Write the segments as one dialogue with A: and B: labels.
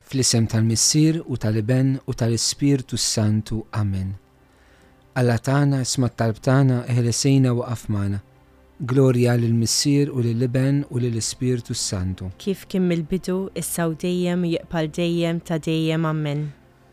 A: fl-isem tal-Missir u tal-Iben u tal-Ispirtu Santu. Amen. Alla tana, isma talb tana, eħlesejna u qafmana. Glorja lill-Missir u lill-Iben u lill-Ispirtu Santu.
B: kif kim il-bidu, issa u dejjem u jiqbal dejjem ta' dejjem ammen.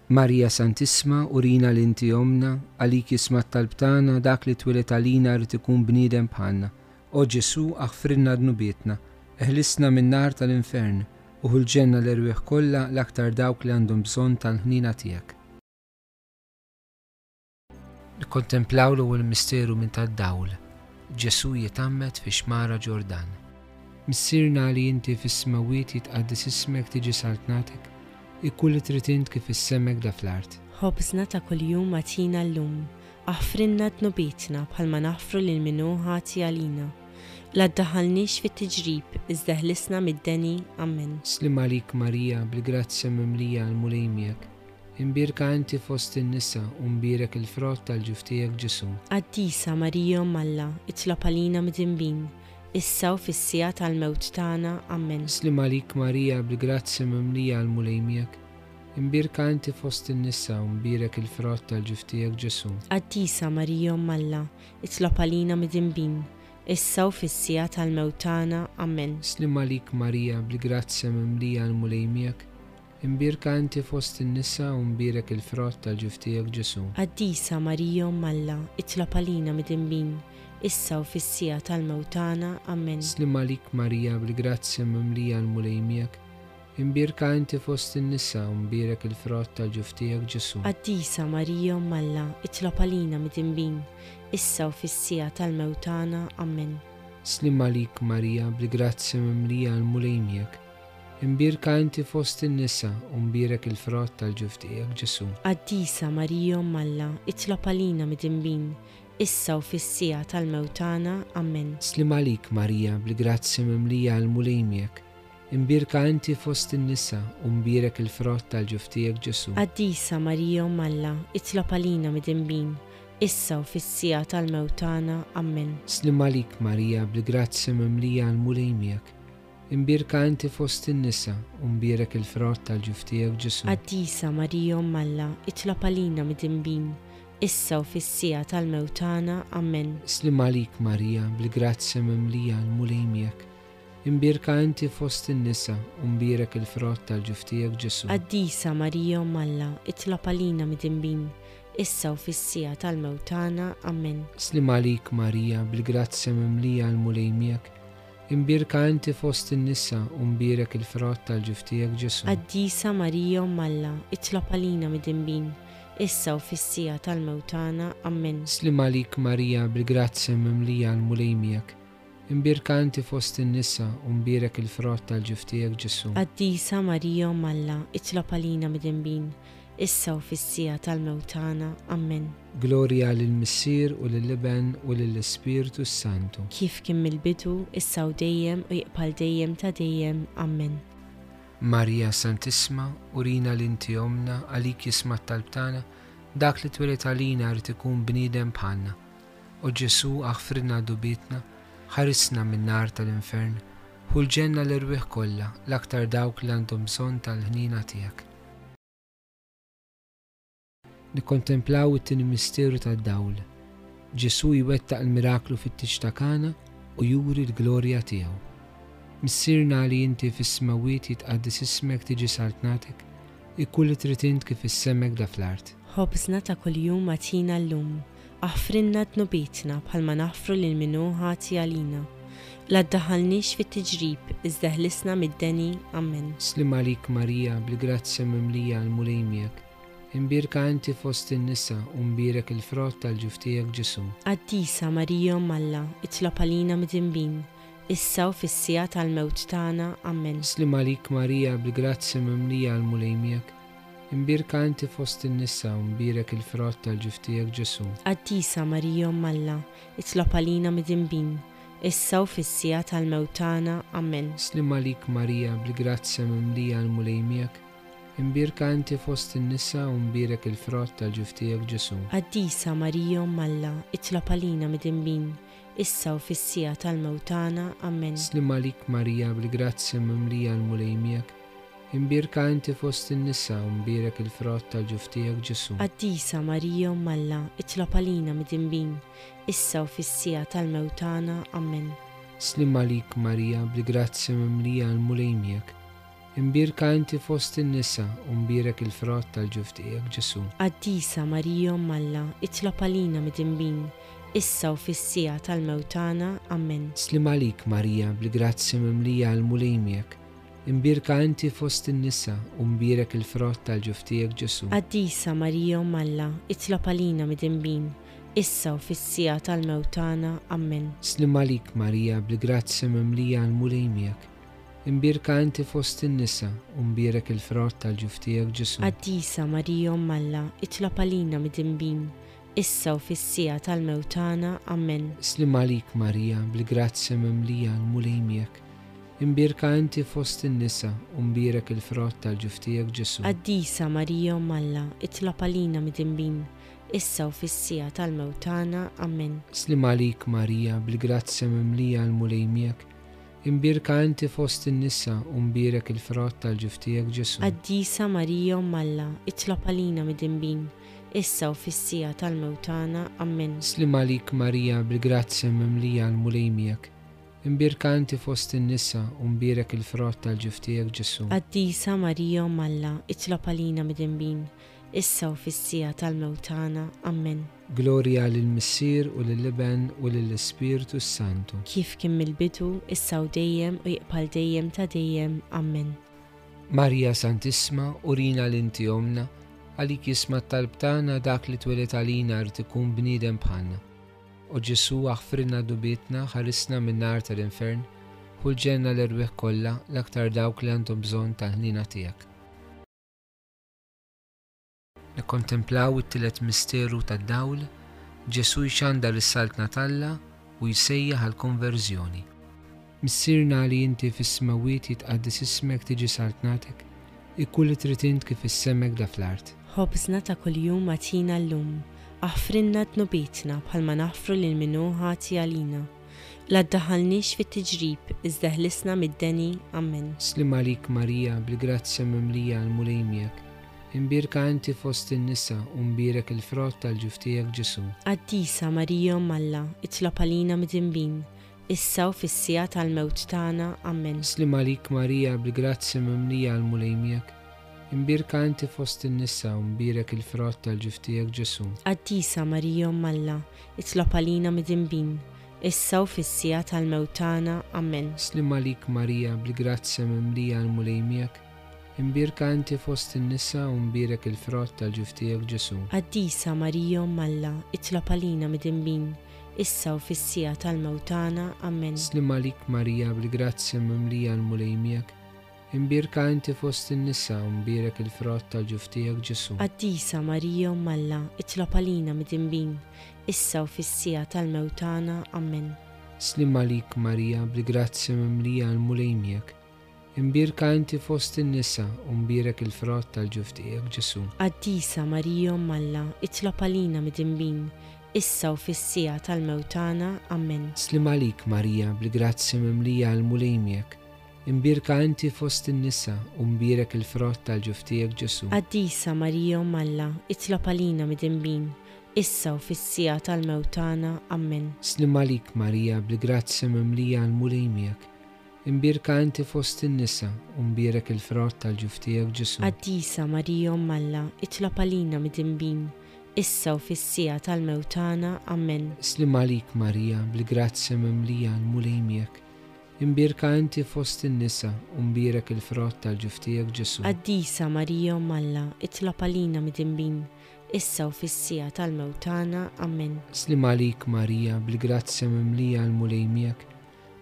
A: Marija Santisma, urina l-inti omna, għalik jisma tal-btana, dak li twilet għalina rrit ikun bnidem bħanna. O Ġesu, aħfrinna d-nubietna, eħlisna minn-nar tal-infern, uħu l-ġenna l-erwieħ kollha l-aktar dawk li għandhom bżonn tal-ħnina tiegħek. Nikkontemplaw l-ewwel misteru minn tad-dawl. Ġesu jitammet fi xmara Ġordan. Missirna li inti fis-smawiet jitqaddis ismek tiġi saltnatek, ikkulli tritint kif is-semmek da fl-art.
B: Ħobżna ta' kuljum għatina l-lum, aħfrinna d-nubietna bħalma naħfru lil minu ħati għalina. La ddaħalniex fit-tġrib, iżda ħlisna mid-deni ammen.
A: Slim għalik Marija bil-grazzja mimlija għal-mulej miegħek. Imbirka inti fost in-nisa u mbirek il-frott tal-ġuftijek Ġesu.
B: Għaddisa Marijo Malla, itlop għalina mid-imbin, issa u fissija tal-mewt tagħna ammen.
A: Slim għalik Marija bil-grazzja mimlija għal-mulej miegħek. Imbirka inti fost in-nisa u mbirek il-frott tal-ġuftijek Ġesu.
B: Għaddisa Marijo Malla, itlop għalina mid-imbin, issa u fissija tal-mewt tagħna ammen.
A: Slim għalik Marija bil-grazzja mimlija għal-mulej miegħek. Imbirka inti fost in-nisa u mbirek il-frott tal-ġuftijek Ġesu.
B: Għaddisa Marijo Malla, itlop għalina mid-imbin, issa u fissija tal-mewtana, ammen.
A: Slim għalik Marija bil-grazzja mimlija l-mulejmijak, imbirka inti fost in-nisa u mbirek il-frott tal-ġuftijak Ġesu.
B: Għaddisa Marijo Malla, itlop għalina mid-imbin, issa u fissija tal-mewtana, ammen.
A: Slim għalik Marija bil-grazzja mimlija l-mulejmijak, imbirka inti fost in-nisa u mbirek il-frott tal-ġuftijak Ġesu.
B: Għaddisa Marijo Malla, itlop għalina mid-imbin, issa u fissija tal-mewtana, ammen.
A: Slim għalik Marija bil-grazzja mimlija l-mulejmijak, imbirka inti fost in-nisa u mbirek il-frott tal-ġuftijak Ġesu.
B: Għaddisa Marijo Malla, itlop għalina mid-imbin, issa u fissija tal-mewtana, ammen.
A: Slim għalik Marija bil-grazzja mimlija għal-mulejmijak. Imbirka inti fost in-nisa, u mbirek il-frott tal-ġuftijak Ġesu.
B: Għaddisa Marijo Malla, itlop għalina mid-imbin, issa u fissija tal-mewtana, ammen.
A: Slim għalik Marija bil-grazzja mimlija għal-mulejmijak. Imbirka inti fost in-nisa, u mbirek il-frott tal-ġuftijak Ġesu.
B: Għaddisa Marijo Malla, itlop għalina mid-imbin, issa u fissija tal-mewtana, ammen.
A: Slim għalik Marija bil-grazzja mimlija għal-mulejmijak. Imbirka inti fost in-nisa, u mbirek il-frott tal-ġuftijak Ġesu.
B: Għaddisa Marijo Malla, itlop għalina mid-imbin, issa u fissija tal-mewtana, ammen.
A: Slim għalik Marija bil-grazzja mimlija għal-mulejmijak. Imbirka inti fost in-nisa u mbirek il-frott tal-ġuftijek Ġesu.
B: Għaddisa Marijo Malla, itlop għalina mid-imbin, issa u fissija tal-mewtana, ammen.
A: Glorja lill-Missir u lill-Iben u lill-Ispirtu Santu.
B: kif kim il-bidu, issa u dejjem u jiqbal dejjem ta' dejjem, ammen.
A: Marija Santisma, urina l-inti omna, għalik jisma talbtana, dak li twelet għalina rrit ikun bnidem bħanna. U Ġesu aħfridna dubitna, ħarisna min-nar tal-infern, ħulġenna l-irwieħ kollha, l-aktar dawk li għandhom bżonn tal-ħnina tiegħek. Nikkontemplaw it-tieni misteru tad-dawl. Ġesu jwettaq il-miraklu fit-tixtakana u juri l-glorja tiegħu. Missirna li inti fis-smawiet jitqaddis ismek tiġi saltnatek, ikkulli tritint kif is-semek da fl-art.
B: Ħobżna ta' kuljum għatina l-lum, aħfrinna d-nubietna bħalma naħfru lil minu ħati għalina. La ddaħalniex fit-tġrib, iżda ħlisna mid-deni, ammen.
A: Slim għalik Marija bil-grazzja mimlija għal-mulej miegħek. Imbirka inti fost in-nisa u mbirek il-frott tal-ġuftijek Ġesu.
B: Għaddisa Marijo Malla, itlop għalina mid-imbin, issa u fissija tal-mewt tana, ammen.
A: Slim għalik Marija bil-grazzja mimlija għal-mulej miegħek. Imbirka inti fost in-nisa u mbirek il-frott tal-ġuftijek Ġesu.
B: Għaddisa Marijo Malla, itlop għalina mid-imbin, issa u fissija tal-mewtana, ammen.
A: Slim għalik Marija bil-grazzja mimlija għal-mulejmijak, imbirka inti fost in-nisa u mbirek il-frott tal-ġuftijek Ġesu.
B: Għaddisa Marijo Malla, itlop għalina mid-imbin, issa u fissija tal-mewtana, ammen.
A: Slim għalik Marija bil-grazzja mimlija għal-mulejmijak, Imbirka inti fost in-nisa u mbirek il-frott tal-ġuftijak Ġesu.
B: Għaddisa Marija u Malla itlob għalina mid-dinbin, issa u fissija tal-mewtana, ammen.
A: Slim għalik Marija bli grazzi mimlija l-mulejmjek. Imbirka inti fost in-nisa u mbirek il-frott tal-ġuftijak Ġesu.
B: Għaddisa Marija u Malla itlob għalina mid-dinbin, issa u fissija tal-mewtana, ammen.
A: Slim għalik Marija bli grazzi mimlija l-mulejmjek. Imbirka inti fost in-nisa u mbirek il-frott tal-ġuftijak Ġesu.
B: Għaddisa Marija u Malla itlob għalina mid-dinbin, issa u fissija tal-mewtana, ammen.
A: Slim għalik Marija bli grazzi mimlija l-mulejmjek. Imbirka inti fost in-nisa u mbirek il-frott tal-ġuftijak Ġesu.
B: Għaddisa Marija u Malla itlob għalina mid-dinbin, issa u fissija tal-mewtana, ammen.
A: Slim għalik Marija bli grazzi mimlija l-mulejmjek. Imbirka inti fost in-nisa u mbirek il-frott tal-ġuftijak Ġesu.
B: Għaddisa Marija u Malla itlob għalina mid-dinbin, issa u fissija tal-mewtana, ammen.
A: Slim għalik Marija bli grazzi mimlija l-mulejmjek. Imbirka inti fost in-nisa u mbirek il-frott tal-ġuftijak Ġesu.
B: Għaddisa Marija u Malla itlob għalina mid-dinbin, issa u fissija tal-mewtana, ammen.
A: Slim għalik Marija bli grazzi mimlija l-mulejmjek. Imbirka inti fost in-nisa u mbirek il-frott tal-ġuftijak Ġesu.
B: Għaddisa Marija u Malla itlob għalina mid-dinbin, issa u fissija tal-mewtana, ammen.
A: Gloria lill-Missir u lill-Liben u lill-Ispirtu Santu.
B: Kif kien mill-bidu, issa u dejjem u jiqbal dejjem ta' dejjem, ammen.
A: Marija Santisma, urina l-inti omna, għalik jisma talbtana dak li twelet għalina rtikun bnidem bħalna. U Ġesu għaxfrinna dubitna ħarisna minn nar tal-infern, ħulġenna l-erweħ kollha l-aktar dawk li għandhom bżonn tal-ħnina tiegħek. Nikkontemplaw it-tielet misteru tad-dawl, Ġesu jxanda r-saltna talla u jsejjaħ għal-konverżjoni. Missirna li inti fis-smawiet jitqaddis ismek tiġi saltnatek, ikulli tritint kif is-semek da fl-art.
B: Ħobżna ta' kuljum għatina l-lum, aħfrinna d-nubitna bħalma naħfru lil minnu ħati għalina. La ddaħalniex fit-tiġrib, iżda ħlisna mid-deni, ammen.
A: Slim għalik Marija bil-grazzja mimlija għal-mulejmijak. Imbirka inti fost in-nisa u mbirek il-frott tal-ġuftijak Ġesu.
B: Għaddisa Marija u Malla, itlob għalina mid-dinbin, issa u fissija tal-mewt tagħna, ammen.
A: Slim għalik Marija bil-grazzja mimlija għal-mulejmijak. Imbirka inti fost in-nisa u mbirek il-frott tal-ġuftijak Ġesu.
B: Għaddisa Marija u Malla, itlob għalina mid-dinbin, issa u fissija tal-mewt tagħna, ammen.
A: Slim għalik Marija bil-grazzja mimlija għal-mulejmijak. Imbirka inti fost in-nisa u mbirek il-frott tal-ġuftijak Ġesu.
B: Għaddisa Marija u Malla, itlob għalina mid-dinbin, issa u fissija tal-mewtana, ammen.
A: Slim għalik Marija bil-grazzja mimlija għal-mulejmijak. Imbirka inti fost in-nisa u mbirek il-frott tal-ġuftijak Ġesu.
B: Għaddisa Marija u Malla, itlob għalina mid-dinbin, issa u fissija tal-mewtana, ammen.
A: Slim għalik Marija bil-grazzja mimlija għal-mulejmijak. Imbirka inti fost in-nisa u mbirek il-frott tal-ġuftijak Ġesu.
B: Għaddisa Marija u Malla, itlob għalina mid-dinbin, issa u fissija tal-mewtana, ammen.
A: Slim għalik Marija bil-grazzja mimlija għal-mulejmijak. Imbirka inti fost in-nisa u mbirek il-frott tal-ġuftijak Ġesu.
B: Għaddisa Marija u Malla, itlob għalina mid-dinbin, issa u fissija tal-mewtana, ammen.
A: Slim għalik Marija bil-grazzja mimlija għal-mulejmijak. Imbirka inti fost in-nisa u mbirek il-frott tal-ġuftijak Ġesu.
B: Għaddisa Marija u Malla, itlob għalina mid-dinbin, issa u fissija tal-mewtana, ammen.
A: Slim għalik Marija bil-grazzja mimlija għal-mulejmijak. Imbirka inti fost in-nisa u mbirek il-frott tal-ġuftijak Ġesu.
B: Għaddisa Marija u Malla, itlob għalina mid-dinbin, issa u fissija tal-mewtana, ammen.
A: Slim għalik Marija bil-grazzja mimlija għal-mulejmijak.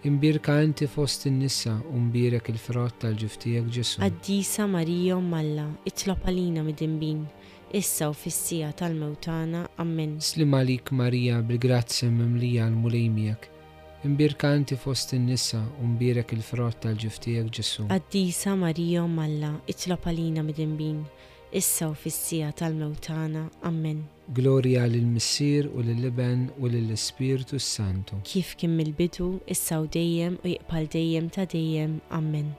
A: Imbirka inti fost in-nisa u mbirek il-frott tal-ġuftijak Ġesu.
B: Għaddisa Marija u Malla, itlob għalina mid-dinbin, issa u fissija tal-mewtana, ammen.
A: Slim għalik Marija bil-grazzja mimlija għal-mulejmijak. Imbirka inti fost in-nisa u mbirek il-frott tal-ġuftijak Ġesu.
B: Għaddisa Marija u Malla, itlob għalina mid-dinbin, issa u fissija tal-mewtana, ammen.
A: Gloria lill-Missir u lill-Liben u lill-Ispirtu Santu.
B: Kif kien mill-bidu, issa u dejjem u jiqbal dejjem ta' dejjem, ammen.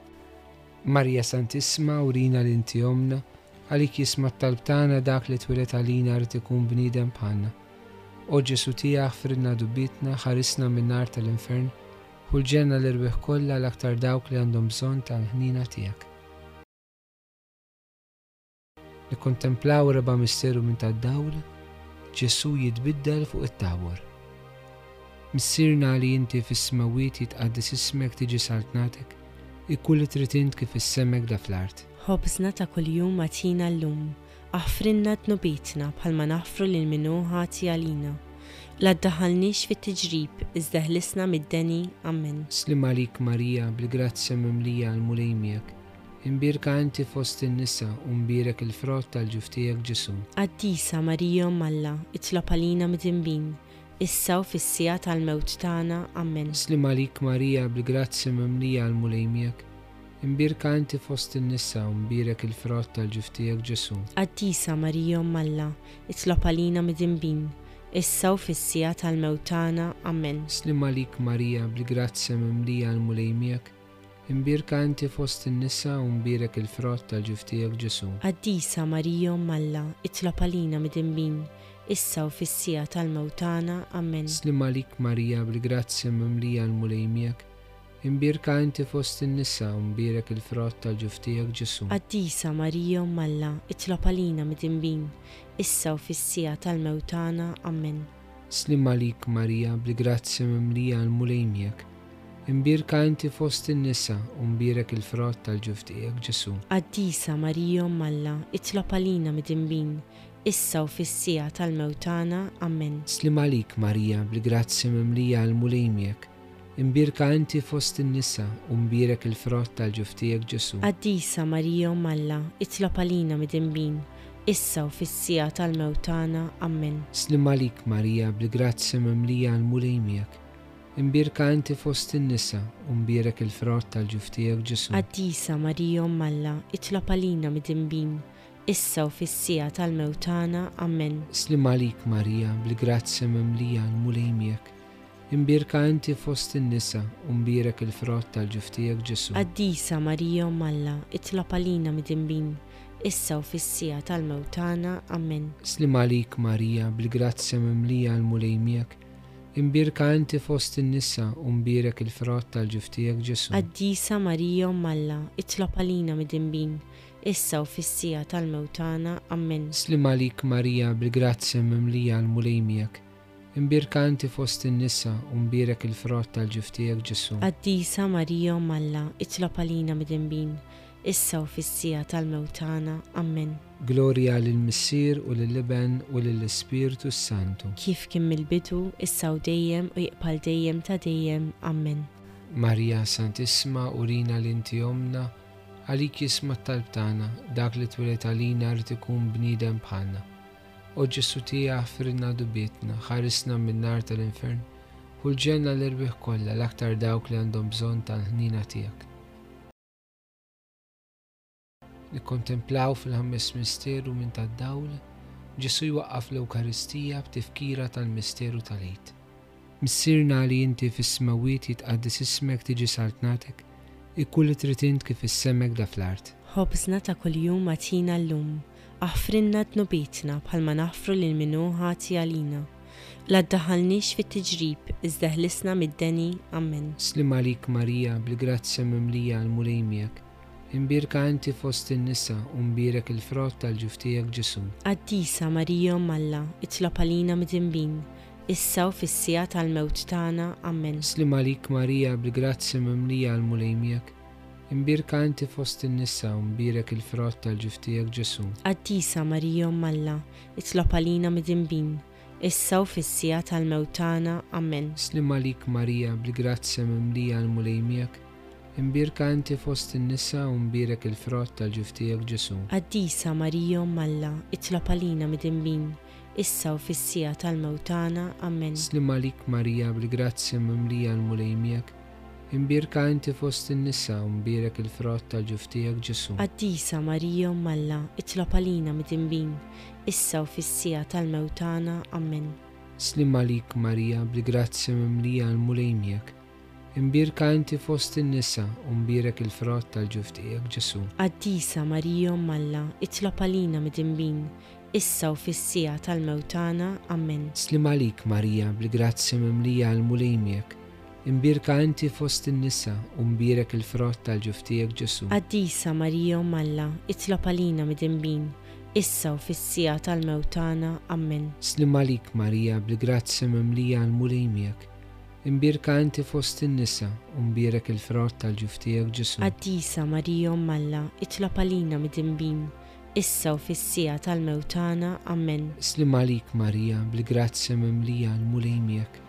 A: Marja Santisma, urina l-inti omna, għalik jisma talbtana dak li twilet għalina rrit ikun bnidem bħanna. O Ġesu tiegħek fridna dubitna, ħarisna min-nar tal-infern, u l-ġenna l-irbeħ kollha l-aktar dawk li għandhom bżonn tal-ħnina tiegħek. Nikkontemplaw reba' misteru minn tad-dawl, Ġesu jitbiddel fuq it-tawor. Missirna li inti fis-smawiet jitqaddis ismek tiġi saltnatek, ikkulli tritint kif is-semek da fl-art.
B: Ħobżna ta' kuljum matina l-lum, aħfrinna d-nubitna bħalma naħfru lil minnu ħati għalina. La ddaħalniex fit-tiġrib, iżda ħlisna mid-deni, ammen.
A: Slim għalik Marija bil-grazzja mimlija għal-mulejmijak, imbirka inti fost in-nisa u mbirek il-frott tal-ġuftijak Ġesu.
B: Addisa Marija Malla, itlob għalina mid-imbin, issa u fissija tal-mewt tagħna, ammen.
A: Slim għalik Marija bil-grazzja mimlija għal-mulejmijak, imbirka inti fost in-nisa u mbirek il-frott tal-ġuftijak Ġesu.
B: Addisa Marija Malla, itlob għalina mid-imbin, issa u fissija tal-mewt tagħna, ammen.
A: Slim għalik Marija bil-grazzja mimlija għal-mulejmijak, imbirka inti fost in-nisa u mbirek il-frott tal-ġuftijak Ġesu.
B: Addisa Marija Malla, itlob għalina mid-imbin, issa u fissija tal-mewt tagħna, ammen.
A: Slim għalik Marija bil-grazzja mimlija għal-mulejmijak, imbirka inti fost in-nisa u mbirek il-frott tal-ġuftijak Ġesu.
B: Addisa Marija Malla, itlob għalina mid-imbin, issa u fissija tal-mewt tagħna, ammen.
A: Slim għalik Marija bil-grazzja mimlija għal-mulejmijak, imbirka inti fost in-nisa u mbirek il-frott tal-ġuftijak Ġesu.
B: Addisa Marija Malla, itlob għalina mid-imbin, issa u fissija tal-mewt tagħna, ammen.
A: Slim għalik Marija bil-grazzi mimlija għal-mulejmjek, imbirka inti fost in-nisa u mbirek il-frott tal-ġuftijek Ġesu.
B: Addisa Marija Malla, itlob għalina mid-imbin, issa u fissija tal-mewt tagħna, ammen.
A: Slim għalik Marija bil-grazzi mimlija għal-mulejmjek, imbirka inti fost in-nisa u mbirek il-frott tal-ġuftijek Ġesu.
B: Addisa Marija Malla, itlob għalina mid-imbin, issa u fissija tal-mewt tagħna, ammen.
A: Slim għalik Marija bil-grazzi mimlija għal-mulejmjek, imbirka inti fost in-nisa u mbirek il-frott tal-ġuftijek Ġesu.
B: Addisa Marija Malla, itlob għalina mid-imbin, issa u fissija tal-mewt tagħna, ammen.
A: Slim għalik Marija bil-grazzja mimlija għal-mulejmijak, imbirka inti fost in-nisa u mbirek il-frott tal-ġuftijak Ġesu.
B: Addisa Marija Malla, itlob għalina mid-imbin, issa u fissija tal-mewt tagħna, ammen.
A: Slim għalik Marija bil-grazzja mimlija għal-mulejmijak, imbirka inti fost in-nisa u mbirek il-frott tal-ġuftijak Ġesu.
B: Addisa Marija Malla, itlob għalina mid-imbin, issa u fissija tal-mewt tagħna, ammen.
A: Gloria lill-Missir u lill-Liben u lill-Ispirtu Santu.
B: Kif kien mill-bidu, issa u dejjem u jiqbal dejjem ta' dejjem, ammen.
A: Marija Santisma urina l-inti omna, għalik jisma talbtana dak li twilet għalina rrit ikun bnidem bħalna. O Ġesu tija frinna dubietna, ħarisna min-nar tal-infern, u l-ġenna l-irbiħ kollha l-aktar dawk li għandhom bżonn tal-ħnina tiegħek. Nikkontemplaw fil-ħammes misteru minn tad-dawl, Ġesu jwaqqaf l-Ewkaristija b'tifkira tal-misteru tal-għid. Missirna li inti fis-smawiet jitqaddis ismek tiġi saltnatek, ikkulli tritint kif is-semek da fl-art.
B: Ħobżna ta' kuljum matina l-lum, aħfrinna d-nubitna bħalma naħfru lil minnu ħati għalina. La ddaħalniex fit-tiġrib, iżda ħlisna mid-deni, ammen.
A: Slim għalik Marija bil-grazzja mimlija għal-mulejmijak, imbirka inti fost in-nisa u mbirek il-frott tal-ġuftijak Ġesu.
B: Addisa Marija Malla, itlob għalina mid-imbin, issa u fissija tal-mewt tagħna, ammen.
A: Slim għalik Marija bil-grazzi mimlija għal-mulejmijak, imbirka inti fost in-nisa u mbirek il-frott tal-ġuftijak Ġesu.
B: Addisa Marija Malla, itlob għalina mid-imbin, issa u fissija tal-mewt tagħna, ammen.
A: Slim għalik Marija bil-grazzi mimlija għal-mulejmijak, imbirka inti fost in-nisa u mbirek il-frott tal-ġuftijak Ġesu.
B: Addisa Marija Malla, itlob għalina mid-imbin, issa u fissija tal-mewt tagħna, ammen.
A: Slim għalik Marija bil-grazzi mimlija għal-mulejmijak, imbirka inti fost in-nisa u mbirek il-frott tal-ġuftijak Ġesu.
B: Addisa Marija Malla, itlob għalina mid-imbin, issa u fissija tal-mewt tagħna, ammen.
A: Slim għalik Marija bil-grazzi mimlija għal-mulejmijak, imbirka inti fost in-nisa u mbirek il-frott tal-ġuftijak Ġesu.
B: Addisa Marijo Malla, itlob għalina mid-imbin, issa u fissija tal-mewtana, ammen.
A: Slim għalik Marija bil-grazzi mimlija għal mulejmjek, imbirka inti fost in-nisa u mbirek il-frott tal-ġuftijak Ġesu.
B: Addisa Marijo Malla, itlob għalina mid-imbin, issa u fissija tal-mewtana, ammen.
A: Slim għalik Marija bil-grazzi mimlija għal mulejmjek, imbirka inti fost in-nisa u mbirek il-frott tal-ġuftijak Ġesu.
B: Addisa Marijo Malla, itlob għalina mid-imbin, issa u fissija tal-mewtana, ammen.
A: Slim għalik Marija bil-grazzi mimlija għal mulejmjek,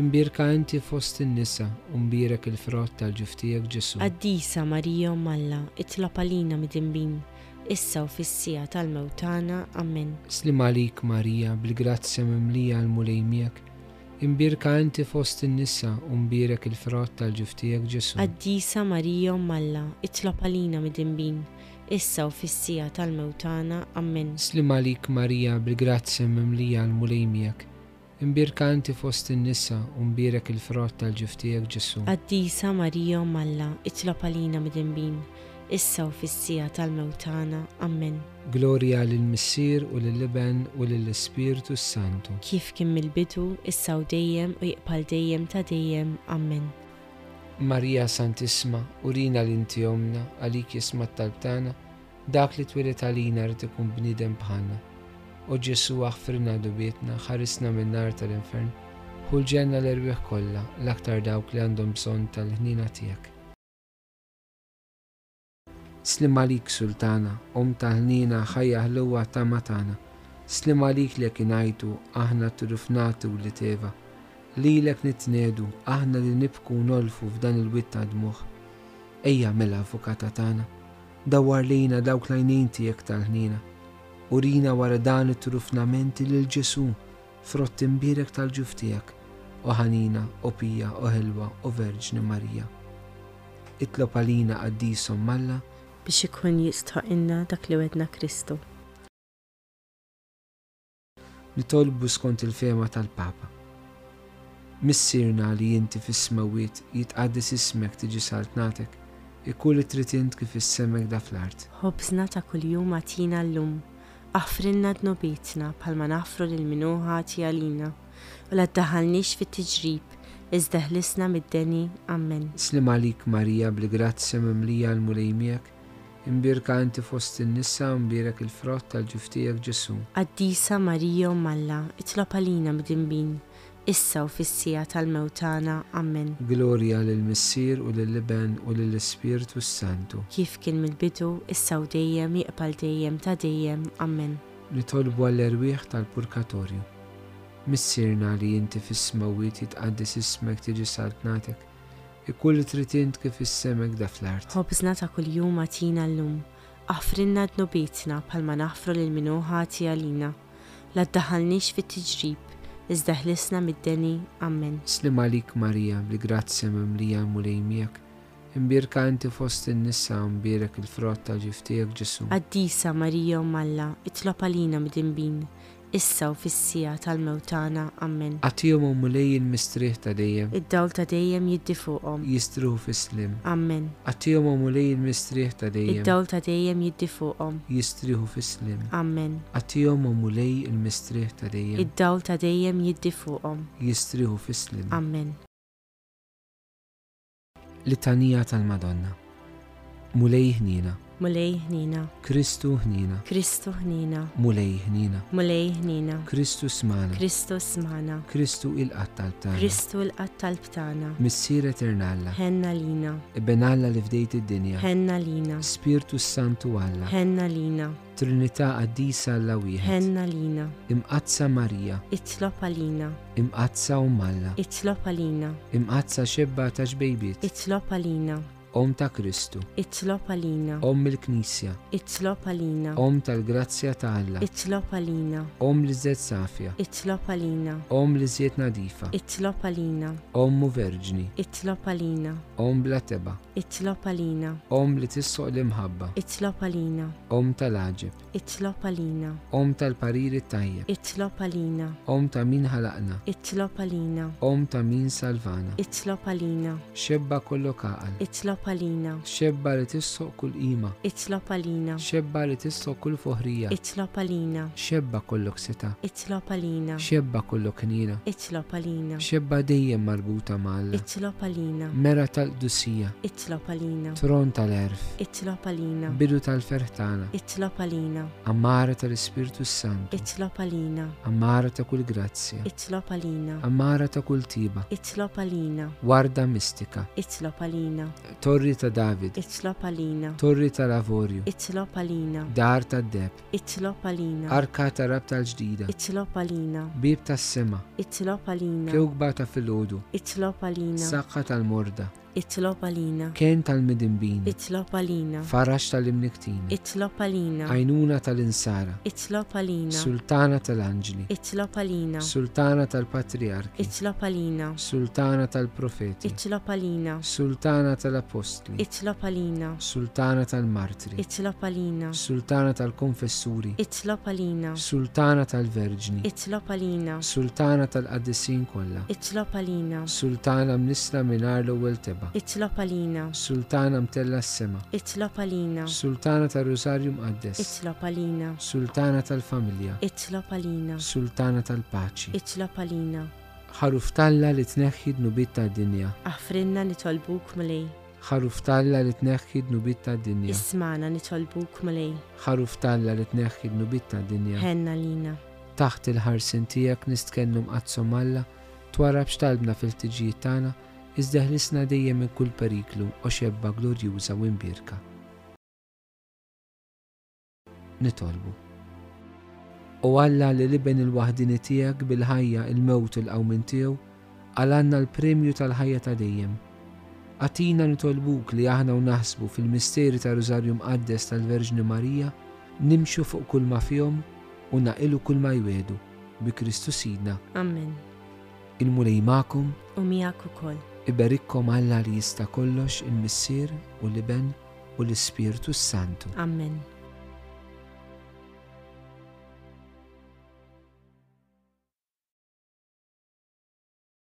A: imbirka inti fost in-nisa u mbirek il-frott tal-ġuftijak Ġesu.
B: Addisa Marijo Malla, itlob għalina mid-imbin, issa u fissija tal-mewtana, ammen.
A: Slim għalik Marija bil-grazzi mimlija għal mulejmjek, imbirka inti fost in-nisa u mbirek il-frott tal-ġuftijak Ġesu.
B: Addisa Marijo Malla, itlob għalina mid-imbin, issa u fissija tal-mewtana, ammen.
A: Slim għalik Marija bil-grazzi mimlija għal mulejmjek, imbirka inti fost in-nisa u mbirek il-frott tal-ġuftijak Ġesu.
B: Addisa Marijo Malla, itlob għalina mid-imbin, issa u fissija tal-mewtana, ammen.
A: Gloria lill-Missir u lill-Liben u lill-Ispirtu Santu.
B: Kif kim il-bidu, issa u dejjem u jiqbal dejjem ta' dejjem, ammen.
A: Marija Santisma, urina l-inti omna, għalik jisma t-talbtana, dak li t-wiret għalina rrit ikun bnidem bħanna. O Ġesu għaffirna dubietna, ħarisna minn nar tal-infern, ħulġenna l-erbiħ kolla, l-aktar dawk li għandhom bżon tal-ħnina tijak. Slim għalik sultana, om tal-ħnina ħajja ħluwa ta' matana, slim għalik li kienajtu, aħna t-rufnatu li teva, li lek nitnedu, aħna li nibku nolfu f'dan il-wit ta' dmuħ. Ejja mela avukata tana, dawar lejna dawk lajnin tijek tal-ħnina. Urina wara dan it-trufnamenti lil ġesu frott imbirek tal-ġuftijak, u ħanina, u pija, u ħelwa, u verġni Marija. Itlob għalina għaddisom malla,
B: biex ikun jistħaqinna dak li wedna Kristu.
A: nitolbu skont il-fema tal-Papa. Missirna li jinti fis-smawiet jitqaddis ismek tiġi saltnatek, ikkull trid int kif issemek da fl-art.
B: Ħobżna ta' kuljum għatina l-lum, aħfrinna dnobitna palma naħfru l-minuħa għalina, u la ddaħalnix fit-tiġrib, iżda ħlisna mid-deni, ammen.
A: Slim għalik Marija bl-grazzi mimlija l-mulejmijak, imbirka inti fost in-nisa imbirek il-frott tal-ġuftijak Ġesu.
B: Addisa Marijo Malla, itlob għalina mid-imbin, issa u fissija tal-mewtana, ammen.
A: Gloria lill-Missir u lill-Liben u lill-Ispirtu Santu.
B: Kif kien mill-bidu, issa u dejjem jiqbal dejjem ta' dejjem, ammen.
A: Nitolbu għall-erwieħ tal-Purkatorju. Missirna li jinti fis-smawiet jitqaddis ismek tiġi saltnatek, ikkull trid int kif issemek da fl-art.
B: Ħobżna ta' kuljum għatina l-lum, aħfrinna dnobitna palma naħfru l-minuħa għalina, la ddaħalnix fit-tiġrib, iżda ħlisna mid-deni, ammen.
A: Slim għalik Marija li grazzi mimlija mulejmijak, imbirka inti fost in-nisa imbirek il-frott tal-ġiftijak Ġesu.
B: Addisa Marijo Malla, itlob għalina mid-imbin, issa u fissija tal-mewtana, ammen.
A: Għatijom u mulej il-mistriħ ta' dejjem,
B: Id-dawl ta' dejjem jiddi fuqhom,
A: jistruħu fis-slim.
B: ammen.
A: Għatijom u mulej il-mistriħ ta' dejjem,
B: Id-dawl ta' dejjem jiddi fuqhom,
A: jistriħu fis-slim.
B: ammen.
A: Għatijom u mulej il-mistriħ ta' dejjem,
B: Id-dawl ta' dejjem jiddi fuqhom,
A: jistriħu fis-slim.
B: ammen.
A: Litanija tal-Madonna. Mulej ħnina,
B: Mulej ħnina,
A: Kristu ħnina,
B: Kristu ħnina,
A: mulej ħnina,
B: mulej ħnina,
A: Kristu smana,
B: Kristu smana,
A: Kristu il-qattal tagħna.
B: Kristu l-qattal btana,
A: Missir eternalla, e
B: ħenna lina,
A: benalla li fdejt id-dinja,
B: ħenna lina,
A: Spiritu Santu Alla,
B: ħenna lina,
A: Trinità Addisa Alla wieħed,
B: ħenna lina,
A: imqazza Marija,
B: itlob għalina,
A: imqazza Ummalla,
B: itlob għalina,
A: imqazza xebba ta' ġbejbiet,
B: itlob għalina,
A: Om ta' Kristu,
B: itlob għalina,
A: Om il-Knisja,
B: itlob għalina,
A: Om tal-Grazzja ta' Alla,
B: itlob għalina,
A: Om li zed safja,
B: itlob għalina,
A: Om li zed nadifa,
B: itlob għalina,
A: Om mu verġni,
B: itlob għalina,
A: Om bla teba,
B: itlob għalina,
A: Om li tissoq l-imħabba,
B: itlob għalina,
A: Om tal-ħagġib,
B: itlob għalina,
A: Om tal-pariri tajjeb,
B: itlob għalina,
A: Om ta' min ħalaqna,
B: itlob għalina,
A: Om ta' min salvana,
B: itlob għalina,
A: xebba kollu kaqal,
B: itlob għalina,
A: xebba li tissoq kull ima,
B: itlob għalina,
A: xebba li tissoq kull fuħrija,
B: itlob għalina,
A: xebba kollok seta,
B: itlob għalina,
A: xebba kollok nira,
B: itlob għalina,
A: xebba dejjem marbuta mal
B: itlob għalina,
A: mera tal-dusija,
B: itlob għalina,
A: tron tal-erf,
B: itlob għalina,
A: bidu tal-fertana,
B: itlob għalina,
A: ammara tal-Ispirtu Santu,
B: itlob għalina,
A: ammara ta' kull grazzja,
B: itlob għalina,
A: ammara ta' kull tiba,
B: itlob għalina,
A: warda mistika,
B: itlob għalina,
A: torri ta' David,
B: itlob għalina,
A: torri tal-avorju,
B: itlob għalina,
A: dar ta' deb,
B: itlob għalina,
A: arka ta' rab tal-ġdida,
B: itlob għalina,
A: bib ta' sema,
B: itlob għalina,
A: kewgba ta' fil-ħodu,
B: itlob għalina,
A: saqqa tal-morda,
B: itlob għalina,
A: ken tal-midimbin,
B: itlob għalina,
A: farax tal-imniktin,
B: itlob għalina,
A: għajnuna tal-insara,
B: itlob għalina,
A: sultana tal-anġli,
B: itlob għalina,
A: sultana tal-patriarki,
B: itlob għalina,
A: sultana tal-profeti,
B: itlob għalina,
A: sultana tal-apostli,
B: itlob għalina,
A: sultana tal-martri,
B: itlob għalina,
A: sultana tal-konfessuri,
B: itlob għalina,
A: sultana tal-verġni,
B: itlob għalina,
A: sultana tal-qaddisin kollha,
B: itlob għalina,
A: sultana mnisla minar l-ewwel teba,
B: itlob għalina,
A: sultana mtella s-sema,
B: itlob għalina,
A: sultana tal-Rosarju mqaddes,
B: itlob għalina,
A: sultana tal-familja,
B: itlob għalina,
A: sultana tal-paċi,
B: itlob għalina,
A: ħaruftalla li tneħħi d-nubit tad-dinja,
B: Aħfrinna nitolbuk mlej,
A: ħaruftalla li tneħħi d-nubit tad-dinja.
B: ismana nitolbuk mlej,
A: ħaruf talla li tneħħi d-nubit ta' dinja.
B: ħenna lina,
A: Taħt il-ħarsin tijak nistkennum għadsommalla, twarab xtalbna fil-tġijiet tagħna, iżdeħlisna dejjem minn kull periklu u xebba glorjuża u imbirka. Nitolbu. U Alla li liben il-wahdini tijak bil-ħajja il-mewt il-qawmin tiegħu, għalanna l-premju tal-ħajja ta' dejjem. Għatina nitolbuk li aħna u naħsbu fil-misteri ta' Rosario Mqaddes tal-Verġni Marija, nimxu fuq kull ma fjom u naqilu kull ma jwedu bi Kristu sidna
B: amen,
A: il-mulej ma'kum
B: u miak ukoll,
A: iberikkom Alla li jista kollox il-missier u l-iben u l-Ispirtu Santu.
B: amen.